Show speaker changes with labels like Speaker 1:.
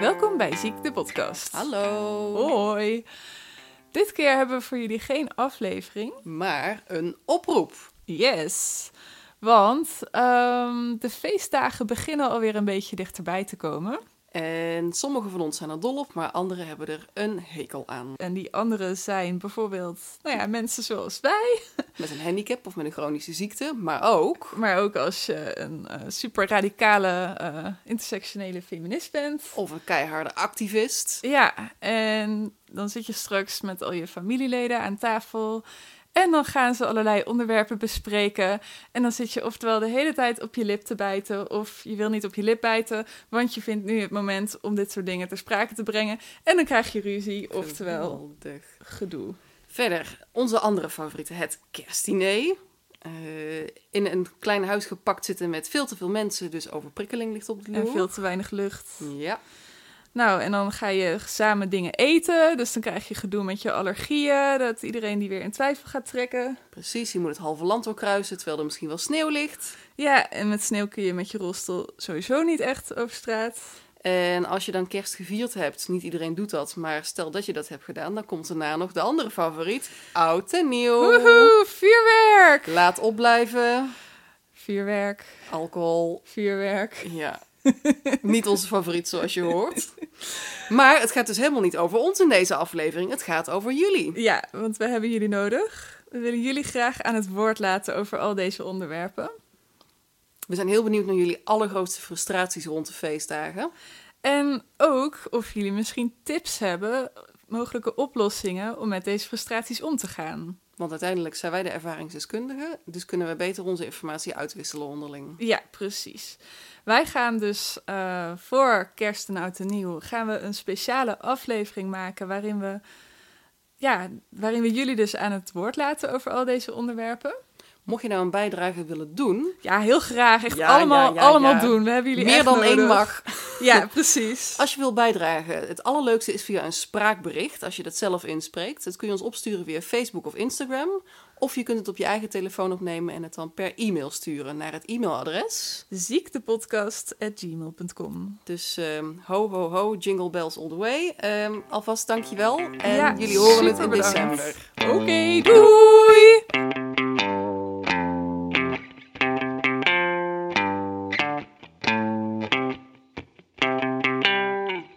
Speaker 1: Welkom bij Ziek de Podcast.
Speaker 2: Hallo.
Speaker 1: Hoi. Dit keer hebben we voor jullie geen aflevering.
Speaker 2: Oh. Maar een oproep.
Speaker 1: Yes. Want ehm, de feestdagen beginnen alweer een beetje dichterbij te komen.
Speaker 2: En sommige van ons zijn er dol op, maar anderen hebben er een hekel aan.
Speaker 1: En die anderen zijn bijvoorbeeld nou ja, mensen zoals wij.
Speaker 2: Met een handicap of met een chronische ziekte, maar ook...
Speaker 1: Maar ook als je een eh, super radicale eh, intersectionele feminist bent.
Speaker 2: Of een keiharde activist.
Speaker 1: Ja, en dan zit je straks met al je familieleden aan tafel. En dan gaan ze allerlei onderwerpen bespreken. En dan zit je oftewel de hele tijd op je lip te bijten. Of je wil niet op je lip bijten, want je vindt nu het moment om dit soort dingen ter sprake te brengen. En dan krijg je ruzie, oftewel
Speaker 2: Geweldig.
Speaker 1: gedoe.
Speaker 2: Verder, onze andere favoriete, het kerstdiner. Eh, in een klein huis gepakt zitten met veel te veel mensen, dus overprikkeling ligt op de loer.
Speaker 1: En veel te weinig lucht.
Speaker 2: Ja,
Speaker 1: Nou, en dan ga je samen dingen eten. Dus dan krijg je gedoe met je allergieën. Dat iedereen die weer in twijfel gaat trekken.
Speaker 2: precies. Je moet het halve land doorkruisen, terwijl er misschien wel sneeuw ligt.
Speaker 1: Ja, en met sneeuw kun je met je rolstoel sowieso niet echt over straat.
Speaker 2: En als je dan kerst gevierd hebt, niet iedereen doet dat, maar stel dat je dat hebt gedaan, dan komt daarna nog de andere favoriet, oud en nieuw.
Speaker 1: Woehoe, vuurwerk!
Speaker 2: Laat opblijven,
Speaker 1: Vuurwerk,
Speaker 2: alcohol.
Speaker 1: vuurwerk.
Speaker 2: Ja, niet onze favoriet zoals je hoort. Maar het gaat dus helemaal niet over ons in deze aflevering, het gaat over jullie.
Speaker 1: Ja, want we hebben jullie nodig. We willen jullie graag aan het woord laten over al deze onderwerpen.
Speaker 2: We zijn heel benieuwd naar jullie allergrootste frustraties rond de feestdagen.
Speaker 1: En ook of jullie misschien tips hebben, mogelijke oplossingen om met deze frustraties om te gaan.
Speaker 2: Want uiteindelijk zijn wij de ervaringsdeskundigen, dus kunnen we beter onze informatie uitwisselen onderling.
Speaker 1: Ja, precies. Wij gaan dus eh, voor Kerst en Oud en Nieuw gaan we een speciale aflevering maken waarin we, ja, waarin we jullie dus aan het woord laten over al deze onderwerpen.
Speaker 2: Mocht je nou een bijdrage willen doen,
Speaker 1: Ja, heel graag. Echt
Speaker 2: Ja,
Speaker 1: allemaal,
Speaker 2: ja, ja,
Speaker 1: allemaal
Speaker 2: ja.
Speaker 1: doen. We hebben jullie
Speaker 2: meer
Speaker 1: echt
Speaker 2: dan één
Speaker 1: nodig.
Speaker 2: mag.
Speaker 1: Ja, precies.
Speaker 2: Als je wil bijdragen, het allerleukste is via een spraakbericht, als je dat zelf inspreekt. Dat kun je ons opsturen via Facebook of Instagram. Of je kunt het op je eigen telefoon opnemen en het dan per e-mail sturen naar het e-mailadres.
Speaker 1: Ziektepodcast.gmail.com
Speaker 2: Dus ehm, ho, ho, ho, jingle bells all the way. Ehm alvast dankjewel en
Speaker 1: Ja,
Speaker 2: jullie horen het
Speaker 1: super
Speaker 2: in
Speaker 1: bedankt.
Speaker 2: december.
Speaker 1: Oké, doei!